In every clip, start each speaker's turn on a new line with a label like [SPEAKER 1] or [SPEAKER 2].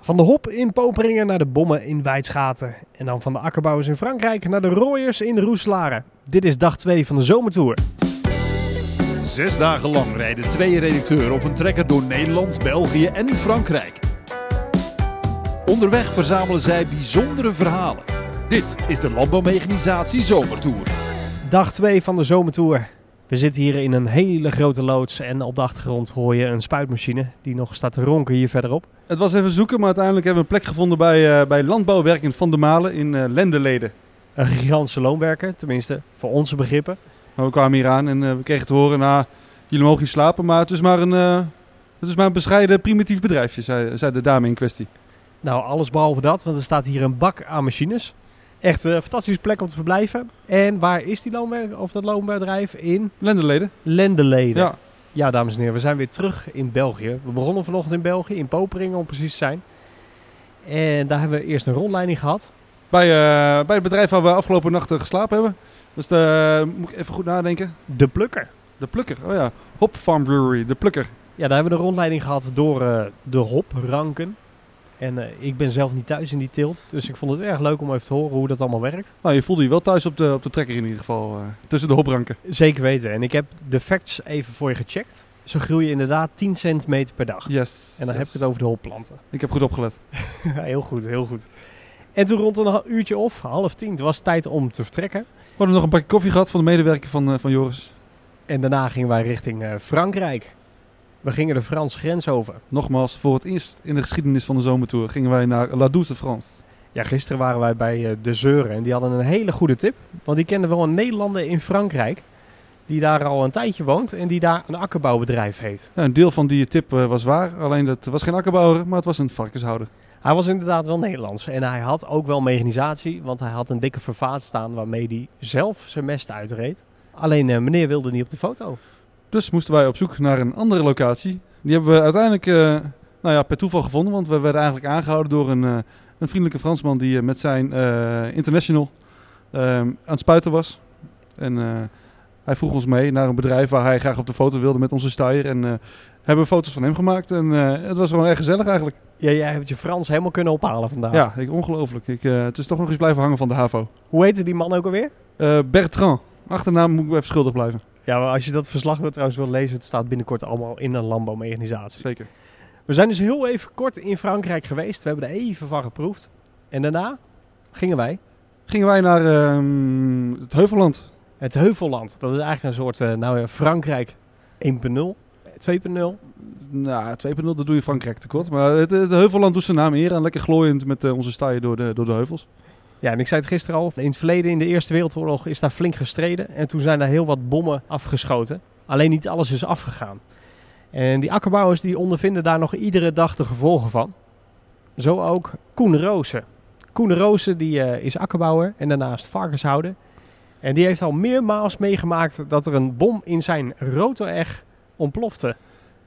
[SPEAKER 1] Van de hop in Poperingen naar de bommen in Wijtschaten. En dan van de akkerbouwers in Frankrijk naar de rooiers in de Roeselaren. Dit is dag 2 van de zomertour.
[SPEAKER 2] Zes dagen lang rijden twee redacteuren op een trekker door Nederland, België en Frankrijk. Onderweg verzamelen zij bijzondere verhalen. Dit is de Landbouwmechanisatie Zomertour.
[SPEAKER 1] Dag 2 van de zomertour. We zitten hier in een hele grote loods en op de achtergrond hoor je een spuitmachine die nog staat te ronken hier verderop.
[SPEAKER 3] Het was even zoeken, maar uiteindelijk hebben we een plek gevonden bij, eh, bij Landbouwwerken van de Malen in eh, Lendeleden.
[SPEAKER 1] Een gigantische loonwerker, tenminste voor onze begrippen.
[SPEAKER 3] Maar we kwamen hier aan en eh, we kregen te horen, nou, jullie mogen hier slapen, maar het is maar een, eh, het is maar een bescheiden primitief bedrijfje, zei, zei de dame in kwestie.
[SPEAKER 1] Nou, alles behalve dat, want er staat hier een bak aan machines. Echt een fantastische plek om te verblijven. En waar is die loonwerker of dat loonbedrijf? In
[SPEAKER 3] Lendeleden?
[SPEAKER 1] Lendeleden.
[SPEAKER 3] Ja.
[SPEAKER 1] Ja, dames en heren, we zijn weer terug in België. We begonnen vanochtend in België, in Poperingen om precies te zijn. En daar hebben we eerst een rondleiding gehad.
[SPEAKER 3] Bij, eh, bij het bedrijf waar we afgelopen nacht eh, geslapen hebben. Dus de, moet ik even goed nadenken.
[SPEAKER 1] De Plukker.
[SPEAKER 3] De Plukker, oh ja. Hop Farm Brewery, de Plukker.
[SPEAKER 1] Ja, daar hebben we een rondleiding gehad door eh, de hopranken. En eh, ik ben zelf niet thuis in die teelt, dus ik vond het erg leuk om even te horen hoe dat allemaal werkt.
[SPEAKER 3] Nou, je voelde je wel thuis op de, op de trekker in ieder geval, eh, tussen de hopranken.
[SPEAKER 1] Zeker weten. En ik heb de facts even voor je gecheckt. Ze groeien inderdaad 10 centimeter per dag.
[SPEAKER 3] Yes.
[SPEAKER 1] En dan heb ik het over de hopplanten.
[SPEAKER 3] Ik heb goed opgelet.
[SPEAKER 1] heel goed, heel goed. En toen rond een ha- uurtje of half tien, toen was het tijd om te vertrekken.
[SPEAKER 3] We hadden nog een bakje koffie gehad van de medewerker van, eh, van Joris.
[SPEAKER 1] En daarna gingen wij richting eh, Frankrijk. We gingen de Franse grens over.
[SPEAKER 3] Nogmaals, voor het eerst in de geschiedenis van de zomertour gingen wij naar La Douce de France.
[SPEAKER 1] Ja, gisteren waren wij bij eh, De Zeuren en die hadden een hele goede tip. Want die kenden wel een Nederlander in Frankrijk die daar al een tijdje woont en die daar een akkerbouwbedrijf heeft.
[SPEAKER 3] Ja, een deel van die tip eh, was waar, alleen dat was geen akkerbouwer, maar het was een varkenshouder.
[SPEAKER 1] Hij was inderdaad wel Nederlands en hij had ook wel mechanisatie, want hij had een dikke vervaat staan waarmee hij zelf zijn mest uitreed. Alleen eh, meneer wilde niet op de foto.
[SPEAKER 3] Dus moesten wij op zoek naar een andere locatie. Die hebben we uiteindelijk eh, nou ja, per toeval gevonden, want we werden eigenlijk aangehouden door een, eh, een vriendelijke Fransman die eh, met zijn eh, international ehm, aan het spuiten was. En eh, hij vroeg ons mee naar een bedrijf waar hij graag op de foto wilde met onze staaier. En eh, hebben we foto's van hem gemaakt en eh, het was gewoon erg gezellig eigenlijk.
[SPEAKER 1] Ja, jij hebt je Frans helemaal kunnen ophalen vandaag.
[SPEAKER 3] Ja, ik, ongelooflijk. Ik, eh, het is toch nog eens blijven hangen van de HAVO.
[SPEAKER 1] Hoe heette die man ook alweer?
[SPEAKER 3] Eh, Bertrand. Achternaam moet ik even schuldig blijven.
[SPEAKER 1] Ja, maar als je dat verslag wil, trouwens wil lezen, het staat binnenkort allemaal in een landbouwmechanisatie.
[SPEAKER 3] Zeker.
[SPEAKER 1] We zijn dus heel even kort in Frankrijk geweest. We hebben er even van geproefd. En daarna gingen wij
[SPEAKER 3] Gingen wij naar ehm, het Heuvelland.
[SPEAKER 1] het Heuvelland. Dat is eigenlijk een soort eh, nou ja, Frankrijk 1.0, 2.0.
[SPEAKER 3] Nou, 2.0, dat doe je Frankrijk tekort. Maar het, het Heuvelland doet zijn naam eer aan. Lekker glooiend met eh, onze staaien door de, door de heuvels.
[SPEAKER 1] Ja, en ik zei het gisteren al. In het verleden, in de Eerste Wereldoorlog, is daar flink gestreden. En toen zijn daar heel wat bommen afgeschoten. Alleen niet alles is afgegaan. En die akkerbouwers die ondervinden daar nog iedere dag de gevolgen van. Zo ook Koen Roosen. Koen Roosen die, eh, is akkerbouwer en daarnaast varkenshouder. En die heeft al meermaals meegemaakt dat er een bom in zijn rotor-eg ontplofte.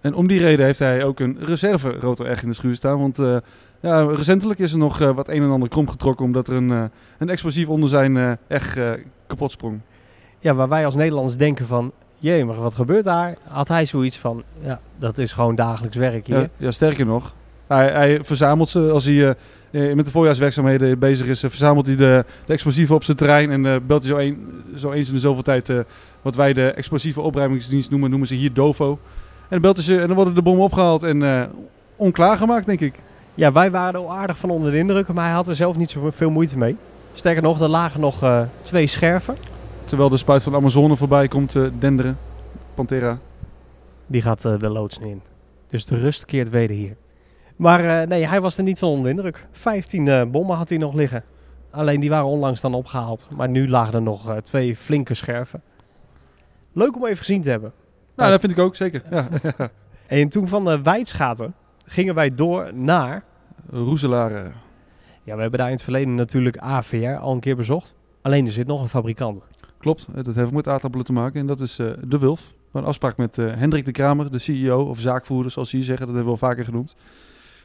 [SPEAKER 3] En om die reden heeft hij ook een reserve rotor echt in de schuur staan. Want eh, ja, recentelijk is er nog eh, wat een en ander krom getrokken. Omdat er een, eh, een explosief onder zijn eh echt kapot sprong.
[SPEAKER 1] Ja, waar wij als Nederlanders denken van... Jee, maar wat gebeurt daar? Had hij zoiets van... Ja, dat is gewoon dagelijks werk hier.
[SPEAKER 3] Ja, ja, sterker nog. Hij, hij verzamelt ze als hij eh, eh, met de voorjaarswerkzaamheden bezig is. eh, verzamelt hij de, de explosieven op zijn terrein. En eh, belt hij zo, een, zo eens in de zoveel tijd eh, wat wij de explosieve opruimingsdienst noemen. Noemen ze hier DOVO. En dan belt hij ze en dan worden de bommen opgehaald en eh, onklaargemaakt, denk ik.
[SPEAKER 1] Ja, wij waren er al aardig van onder de indruk, maar hij had er zelf niet zoveel moeite mee. Sterker nog, er lagen nog eh, twee scherven.
[SPEAKER 3] Terwijl de spuit van de Amazone voorbij komt, eh, denderen. Pantera.
[SPEAKER 1] Die gaat eh, de loods in. Dus de rust keert wederheer. Maar eh, nee, hij was er niet van onder de indruk. Vijftien eh, bommen had hij nog liggen. Alleen die waren onlangs dan opgehaald. Maar nu lagen er nog eh, twee flinke scherven. Leuk om even gezien te hebben.
[SPEAKER 3] Nou, dat vind ik ook, zeker. Ja.
[SPEAKER 1] En toen van de Weidschaten gingen wij door naar...
[SPEAKER 3] Roeselaren.
[SPEAKER 1] Ja, we hebben daar in het verleden natuurlijk AVR al een keer bezocht. Alleen er zit nog een fabrikant.
[SPEAKER 3] Klopt, het heeft met aardappelen te maken en dat is eh, De Wulf. E Een afspraak met eh, Hendrik de Kramer, de CEO of zaakvoerder, zoals ze hier zeggen, dat hebben we al vaker genoemd.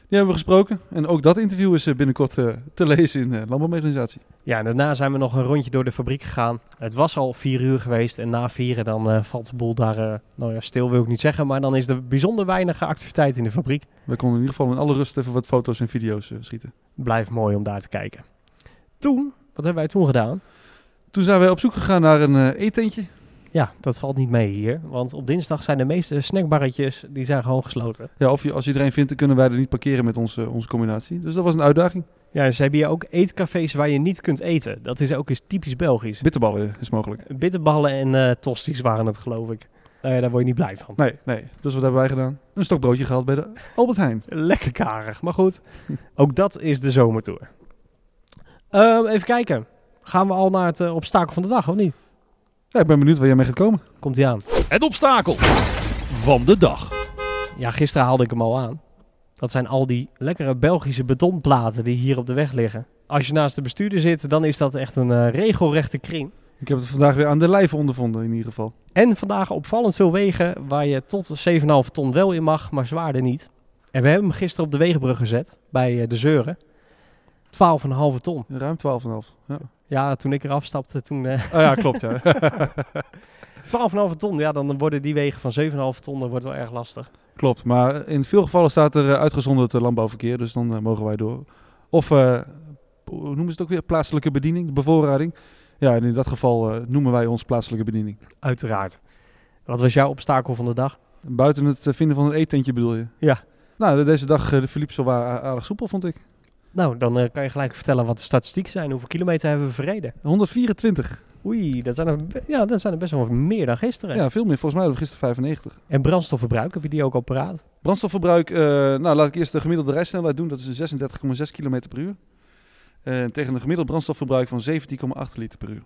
[SPEAKER 3] hebben we gesproken. En ook dat interview is eh, binnenkort eh, te lezen in eh Landbouwmechanisatie.
[SPEAKER 1] Ja, en daarna zijn we nog een rondje door de fabriek gegaan. Het was al vier uur geweest en na vieren dan eh, valt de boel daar, eh, nou ja, stil wil ik niet zeggen, maar dan is er bijzonder weinig activiteit in de fabriek.
[SPEAKER 3] We konden in ieder geval in alle rust even wat foto's en video's eh, schieten.
[SPEAKER 1] Blijft mooi om daar te kijken. Toen, wat hebben wij toen gedaan?
[SPEAKER 3] Toen zijn wij op zoek gegaan naar een eh eetentje.
[SPEAKER 1] Ja, dat valt niet mee hier, want op dinsdag zijn de meeste snackbarretjes, die zijn gewoon gesloten.
[SPEAKER 3] Ja, of je, als je er een vindt, dan kunnen wij er niet parkeren met onze, onze combinatie. Dus dat was een uitdaging.
[SPEAKER 1] Ja, en ze hebben hier ook eetcafés waar je niet kunt eten. Dat is ook eens typisch Belgisch.
[SPEAKER 3] Bitterballen eh, is mogelijk.
[SPEAKER 1] Bitterballen en eh, tosties waren het, geloof ik. Nou ja, daar word je niet blij van.
[SPEAKER 3] Nee, nee. Dus wat hebben wij gedaan? Een stokbroodje gehaald bij de Albert Heijn.
[SPEAKER 1] Lekker karig, maar goed. Ook dat is de zomertour. Ehm, even kijken. Gaan we al naar het eh, obstakel van de dag, of niet?
[SPEAKER 3] Ja, ik ben benieuwd waar jij mee gaat komen.
[SPEAKER 1] Komt die aan.
[SPEAKER 2] Het obstakel van de dag.
[SPEAKER 1] Ja, gisteren haalde ik hem al aan. Dat zijn al die lekkere Belgische betonplaten die hier op de weg liggen. Als je naast de bestuurder zit, dan is dat echt een eh, regelrechte kring.
[SPEAKER 3] Ik heb het vandaag weer aan de lijve ondervonden in ieder geval.
[SPEAKER 1] En vandaag opvallend veel wegen waar je tot 7,5 ton wel in mag, maar zwaarder niet. En we hebben hem gisteren op de wegenbrug gezet, bij eh, de Zeuren. 12,5 ton.
[SPEAKER 3] Ruim 12,5. Ja.
[SPEAKER 1] Ja, toen ik eraf stapte, toen... eh,
[SPEAKER 3] Oh ja, klopt. Ja.
[SPEAKER 1] 12,5 ton, ja, dan worden die wegen van 7,5 ton, dat wordt wel erg lastig.
[SPEAKER 3] Klopt, maar in veel gevallen staat er eh, uitgezonderd eh, landbouwverkeer, dus dan eh, mogen wij door. Of, eh, hoe noemen ze het ook weer, plaatselijke bediening, bevoorrading. Ja, en in dat geval eh, noemen wij ons plaatselijke bediening.
[SPEAKER 1] Uiteraard. Wat was jouw obstakel van de dag?
[SPEAKER 3] Buiten het eh, vinden van het eetentje bedoel je?
[SPEAKER 1] Ja.
[SPEAKER 3] Nou, de- deze dag eh, verliep zo aardig soepel, vond ik.
[SPEAKER 1] Nou, dan eh, kan je gelijk vertellen wat de statistieken zijn. Hoeveel kilometer hebben we verreden?
[SPEAKER 3] 124.
[SPEAKER 1] Oei, dat zijn er, be- ja, dat zijn er best wel wat meer dan gisteren.
[SPEAKER 3] Ja, veel meer. Volgens mij hadden we gisteren 95.
[SPEAKER 1] En brandstofverbruik, heb je die ook al paraat?
[SPEAKER 3] Brandstofverbruik, eh, nou laat ik eerst de gemiddelde rijsnelheid doen. Dat is een 36,6 km per uur. En tegen een gemiddeld brandstofverbruik van 17,8 liter per uur.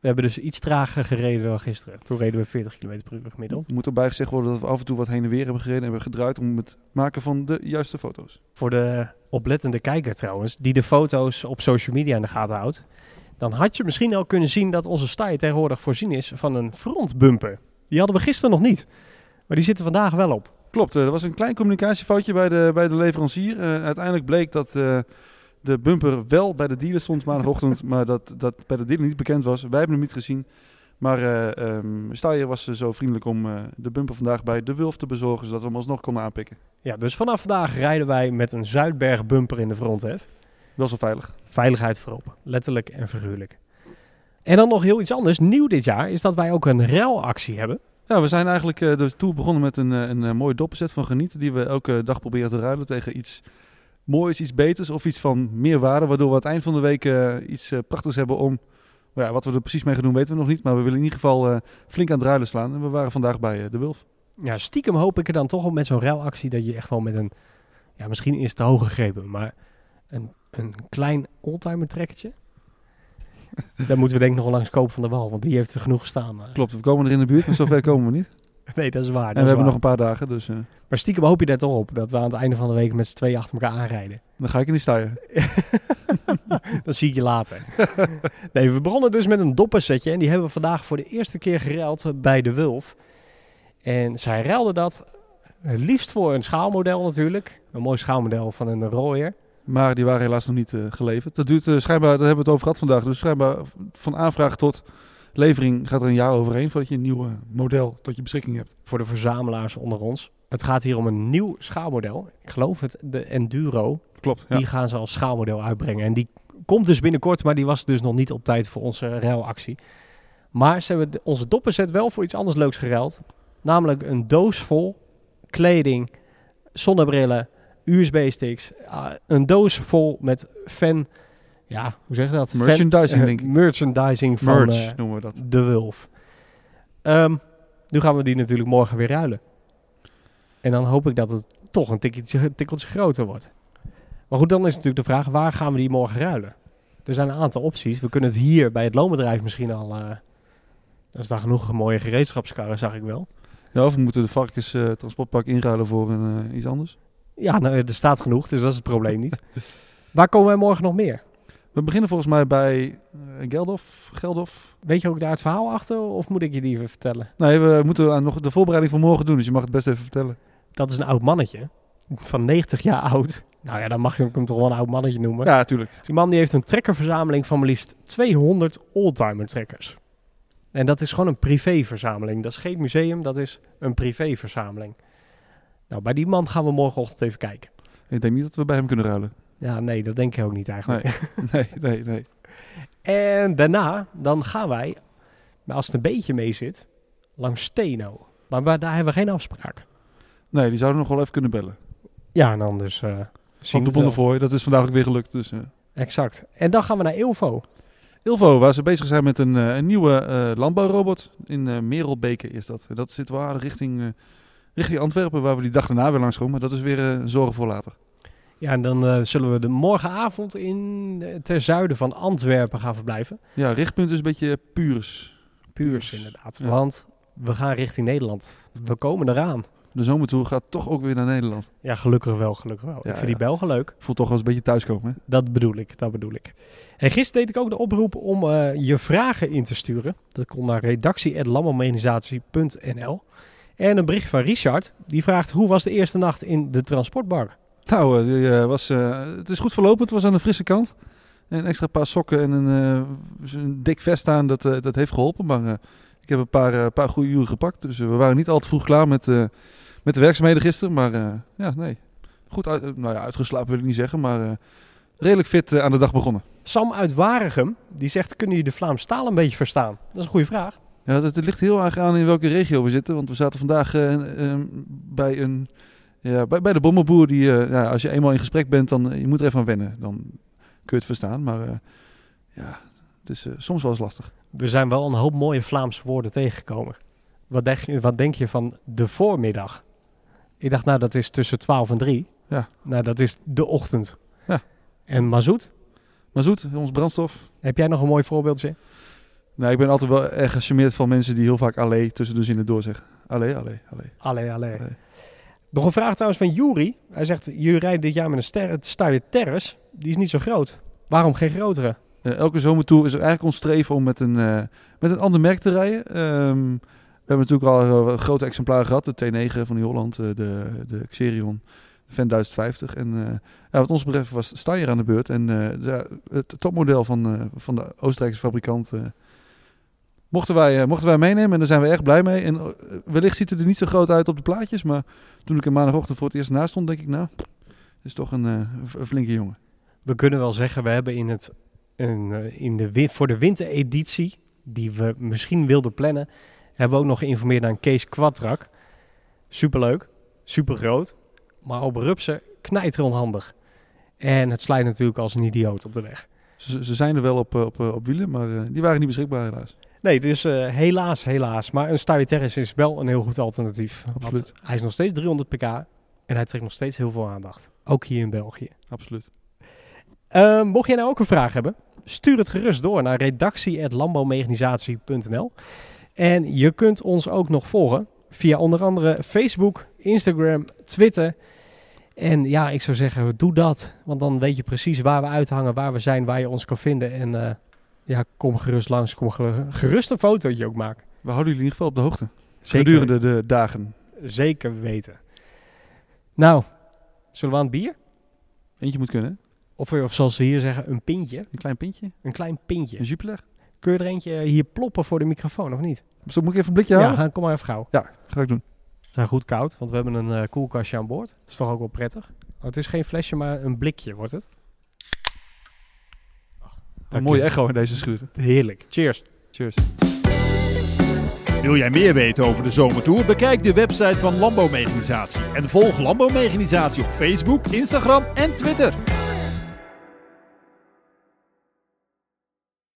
[SPEAKER 1] We hebben dus iets trager gereden dan gisteren. Toen reden we 40 km per uur gemiddeld.
[SPEAKER 3] Er moet erbij gezegd worden dat we af en toe wat heen en weer hebben gereden en hebben gedraaid om het maken van de juiste foto's.
[SPEAKER 1] Voor de oplettende kijker trouwens, die de foto's op social media in de gaten houdt. Dan had je misschien al kunnen zien dat onze staai tegenwoordig voorzien is van een frontbumper. Die hadden we gisteren nog niet. Maar die zitten vandaag wel op.
[SPEAKER 3] Klopt, eh, er was een klein communicatiefoutje bij de, bij de leverancier. Eh, uiteindelijk bleek dat eh, de bumper wel bij de dealer stond maandagochtend, maar dat, dat bij de dealer niet bekend was. Wij hebben hem niet gezien. Maar eh ehm, Steyr was eh, zo vriendelijk om eh, de bumper vandaag bij de Wulf te bezorgen, zodat we hem alsnog konden aanpikken.
[SPEAKER 1] Ja, dus vanaf vandaag rijden wij met een Zuidberg bumper in de fronthef.
[SPEAKER 3] Wel zo veilig.
[SPEAKER 1] Veiligheid voorop, letterlijk en figuurlijk. En dan nog heel iets anders. Nieuw dit jaar is dat wij ook een ruilactie hebben.
[SPEAKER 3] Ja, we zijn eigenlijk eh, de tour begonnen met een, eh, een eh, mooie doppelzet van genieten. Die we elke dag proberen te ruilen tegen iets moois, iets beters of iets van meer waarde. Waardoor we aan het eind van de week eh, iets eh, prachtigs hebben om... nou Ja, wat we er precies mee gaan doen weten we nog niet. Maar we willen in ieder geval eh, flink aan het ruilen slaan. En we waren vandaag bij eh, de Wulf.
[SPEAKER 1] Ja, stiekem hoop ik er dan toch op met zo'n ruilactie dat je echt wel met een... Ja, misschien is het te hoog gegrepen, maar een, een klein oldtimer trekkertje. Daar moeten we denk ik nog wel langs kopen van de wal, want die heeft er genoeg gestaan. Maar-
[SPEAKER 3] Klopt, we komen er in de buurt, maar zover komen we niet.
[SPEAKER 1] Nee, dat is waar. dat
[SPEAKER 3] En we
[SPEAKER 1] is
[SPEAKER 3] hebben nog
[SPEAKER 1] waar.
[SPEAKER 3] een paar dagen, dus eh,
[SPEAKER 1] Maar stiekem hoop je daar toch op dat we aan het einde van de week met z'n tweeën achter elkaar aanrijden.
[SPEAKER 3] dan ga ik in die stijgen.
[SPEAKER 1] Dan zie ik je later. nee, we begonnen dus met een doppersetje. En die hebben we vandaag voor de eerste keer geruild bij de Wulf. En zij ruilde dat het liefst voor een schaalmodel natuurlijk. Een mooi schaalmodel van een rooier.
[SPEAKER 3] Maar die waren helaas nog niet eh, geleverd. Dat duurt eh, schijnbaar, daar hebben we het over gehad vandaag. Dus schijnbaar van aanvraag tot levering gaat er een jaar overheen voordat je een nieuw eh, model tot je beschikking hebt.
[SPEAKER 1] Voor de verzamelaars onder ons. Het gaat hier om een nieuw schaalmodel. Ik geloof het, de Enduro.
[SPEAKER 3] Klopt.
[SPEAKER 1] Die gaan ze als schaalmodel uitbrengen. En die komt dus binnenkort, maar die was dus nog niet op tijd voor onze ruilactie. Maar ze hebben de- onze doppenset wel voor iets anders leuks geruild. Namelijk een doos vol kleding, zonnebrillen, USB-sticks. ah, een doos vol met fan... Ja, hoe zeg je dat? Fan-
[SPEAKER 3] Merchandising,
[SPEAKER 1] eh,
[SPEAKER 3] denk ik.
[SPEAKER 1] Merchandising van
[SPEAKER 3] Merch
[SPEAKER 1] eh,
[SPEAKER 3] noemen we dat.
[SPEAKER 1] de Wulf. Ehm, nu gaan we die natuurlijk morgen weer ruilen. En dan hoop ik dat het toch een tikkeltje, tikkeltje groter wordt. Maar goed, dan is natuurlijk de vraag, waar gaan we die morgen ruilen? Er zijn een aantal opties. We kunnen het hier bij het loonbedrijf misschien al... eh er is daar genoeg mooie gereedschapskarren, zag ik wel.
[SPEAKER 3] Ja, of we moeten de varkens eh, transportpak inruilen voor een, eh, iets anders.
[SPEAKER 1] Ja, nou, er staat genoeg, dus dat is het probleem niet. waar komen wij morgen nog meer?
[SPEAKER 3] We beginnen volgens mij bij eh, Geldof. Geldof.
[SPEAKER 1] Weet je ook daar het verhaal achter, of moet ik je die even vertellen?
[SPEAKER 3] Nee, we moeten aan nog de voorbereiding van morgen doen, dus je mag het best even vertellen.
[SPEAKER 1] Dat is een oud mannetje, van 90 jaar oud, Nou ja, dan mag je hem toch wel een oud mannetje noemen.
[SPEAKER 3] Ja, natuurlijk.
[SPEAKER 1] Die man die heeft een trekkerverzameling van maar liefst 200 oldtimer trekkers. En dat is gewoon een privéverzameling. Dat is geen museum, dat is een privéverzameling. Nou, bij die man gaan we morgenochtend even kijken.
[SPEAKER 3] Ik denk niet dat we bij hem kunnen ruilen.
[SPEAKER 1] Ja, nee, dat denk ik ook niet eigenlijk.
[SPEAKER 3] Nee, nee, nee.
[SPEAKER 1] En daarna, dan gaan wij, maar als het een beetje mee zit, langs Steno. Maar, maar daar hebben we geen afspraak.
[SPEAKER 3] Nee, die zouden we nog wel even kunnen bellen.
[SPEAKER 1] Ja, en anders eh, zien we het
[SPEAKER 3] Van de
[SPEAKER 1] wel.
[SPEAKER 3] bonnen voor je, dat is vandaag ook weer gelukt. Dus, eh.
[SPEAKER 1] Exact. En dan gaan we naar Ilvo.
[SPEAKER 3] Ilvo, waar ze bezig zijn met een, eh, een nieuwe eh, landbouwrobot. In eh Merelbeke is dat. En Dat zit wel aardig richting, eh, richting Antwerpen, waar we die dag daarna weer langs komen. Maar dat is weer eh, zorgen voor later.
[SPEAKER 1] Ja, en dan eh, zullen we de morgenavond in, eh, ten zuiden van Antwerpen gaan verblijven.
[SPEAKER 3] Ja, richtpunt is een beetje puurs.
[SPEAKER 1] Puurs
[SPEAKER 3] Puurs,
[SPEAKER 1] inderdaad.
[SPEAKER 3] ja.
[SPEAKER 1] Want we gaan richting Nederland. We komen eraan.
[SPEAKER 3] De zomertour gaat toch ook weer naar Nederland.
[SPEAKER 1] Ja, gelukkig wel, gelukkig wel. ik
[SPEAKER 3] Ja,
[SPEAKER 1] vind
[SPEAKER 3] ja.
[SPEAKER 1] die Belgen leuk.
[SPEAKER 3] Voelt toch wel eens een beetje thuiskomen. Hè?
[SPEAKER 1] Dat bedoel ik, dat bedoel ik. En gisteren deed ik ook de oproep om eh, je vragen in te sturen. Dat kon naar redactie.lamorganisatie.nl. En een bericht van Richard, die vraagt hoe was de eerste nacht in de transportbar?
[SPEAKER 3] Nou, eh, die, eh, was, eh, het is goed verlopen. Het was aan de frisse kant. Een extra paar sokken en een, eh, een dik vest aan, dat, eh, dat heeft geholpen. Maar eh, ik heb een paar, eh, paar goede uren gepakt. Dus eh, we waren niet al te vroeg klaar met, eh, met de werkzaamheden gisteren. Maar eh, ja, nee. Goed uit, eh, nou ja, uitgeslapen wil ik niet zeggen, maar eh, redelijk fit eh, aan de dag begonnen.
[SPEAKER 1] Sam uit Waregem, die zegt, kunnen jullie de Vlaamse taal een beetje verstaan? Dat is een goede vraag.
[SPEAKER 3] Ja, dat, het ligt heel erg aan in welke regio we zitten. Want we zaten vandaag eh, eh, bij, een, ja, bij, bij de bommenboer. Die, eh, ja, als je eenmaal in gesprek bent, dan eh, je moet er even aan wennen. Dan kun je het verstaan. Maar eh, ja, het is eh, soms wel eens lastig.
[SPEAKER 1] We zijn wel een hoop mooie Vlaamse woorden tegengekomen. Wat denk je, wat denk je van de voormiddag? Ik dacht, nou, dat is tussen 12 en 3.
[SPEAKER 3] Ja.
[SPEAKER 1] Nou, dat is de ochtend.
[SPEAKER 3] Ja.
[SPEAKER 1] En Mazoet,
[SPEAKER 3] Maar zoet, ons brandstof.
[SPEAKER 1] heb jij nog een mooi voorbeeldje?
[SPEAKER 3] Nou, ik ben altijd wel erg gecharmeerd van mensen die heel vaak allee tussen dus in het door zeggen. Allee, allee, allee.
[SPEAKER 1] Allee, allee.
[SPEAKER 3] Allee.
[SPEAKER 1] Nog een vraag trouwens van Juri. Hij zegt, jullie rijden dit jaar met een ster het Stuyer Terrace. Die is niet zo groot. Waarom geen grotere?
[SPEAKER 3] Eh, elke zomertour is er eigenlijk ons streven om met een, eh, met een ander merk te rijden. Ehm, we hebben natuurlijk al eh, wat grote exemplaren gehad. De T9 van die Holland, eh, de, de Xerion, de Fan 1050. En eh, ja, wat ons betreft was Steyr aan de beurt. En eh, de- het topmodel van, eh, van de Oostenrijkse fabrikant... eh, Mochten wij, eh, mochten wij meenemen en daar zijn we erg blij mee. En eh, wellicht ziet het er niet zo groot uit op de plaatjes. Maar toen ik er maandagochtend voor het eerst naast stond, denk ik, nou, dit is toch een, eh, een flinke jongen.
[SPEAKER 1] We kunnen wel zeggen, we hebben in het, een, eh, in de, win- voor de wintereditie, die we misschien wilden plannen, hebben we ook nog geïnformeerd aan Kees Kwatrak. Superleuk, supergroot, maar op rupsen knijter onhandig. En het slijt natuurlijk als een idioot op de weg.
[SPEAKER 3] Ze, ze zijn er wel op, eh, op, eh, op wielen, maar eh, die waren niet beschikbaar helaas.
[SPEAKER 1] Nee, dus eh, helaas, helaas. Maar een Stawie Terrace is wel een heel goed alternatief. Want
[SPEAKER 3] Absoluut.
[SPEAKER 1] hij is nog steeds 300 pk en hij trekt nog steeds heel veel aandacht. Ook hier in België.
[SPEAKER 3] Absoluut.
[SPEAKER 1] Eh, mocht jij nou ook een vraag hebben, stuur het gerust door naar redactie.landbouwmechanisatie.nl. En je kunt ons ook nog volgen via onder andere Facebook, Instagram, Twitter. En ja, ik zou zeggen, doe dat. Want dan weet je precies waar we uithangen, waar we zijn, waar je ons kan vinden. En eh, ja, kom gerust langs. Kom ge- gerust een fotootje ook maken.
[SPEAKER 3] We houden jullie in ieder geval op de hoogte.
[SPEAKER 1] Zeker
[SPEAKER 3] Gedurende de dagen.
[SPEAKER 1] weten. Zeker weten. Nou, zullen we aan het bier?
[SPEAKER 3] Eentje moet kunnen. hè?
[SPEAKER 1] Of, of zoals ze hier zeggen, een pintje.
[SPEAKER 3] Een klein pintje.
[SPEAKER 1] Een klein pintje.
[SPEAKER 3] Een Jupiler.
[SPEAKER 1] Kun je er eentje hier ploppen voor de microfoon, of niet?
[SPEAKER 3] Zo, moet ik even een blikje halen?
[SPEAKER 1] kom maar even gauw.
[SPEAKER 3] Ga ik doen.
[SPEAKER 1] Ze zijn goed koud, want we hebben een eh, koelkastje aan boord. Dat is toch ook wel prettig. Oh, het is geen flesje, maar een blikje wordt het.
[SPEAKER 3] Een mooie echo in deze schuren.
[SPEAKER 1] Heerlijk. Cheers.
[SPEAKER 3] Cheers.
[SPEAKER 2] Wil jij meer weten over de zomertour? Bekijk de website van Landbouwmechanisatie en volg Landbouwmechanisatie op Facebook, Instagram en Twitter.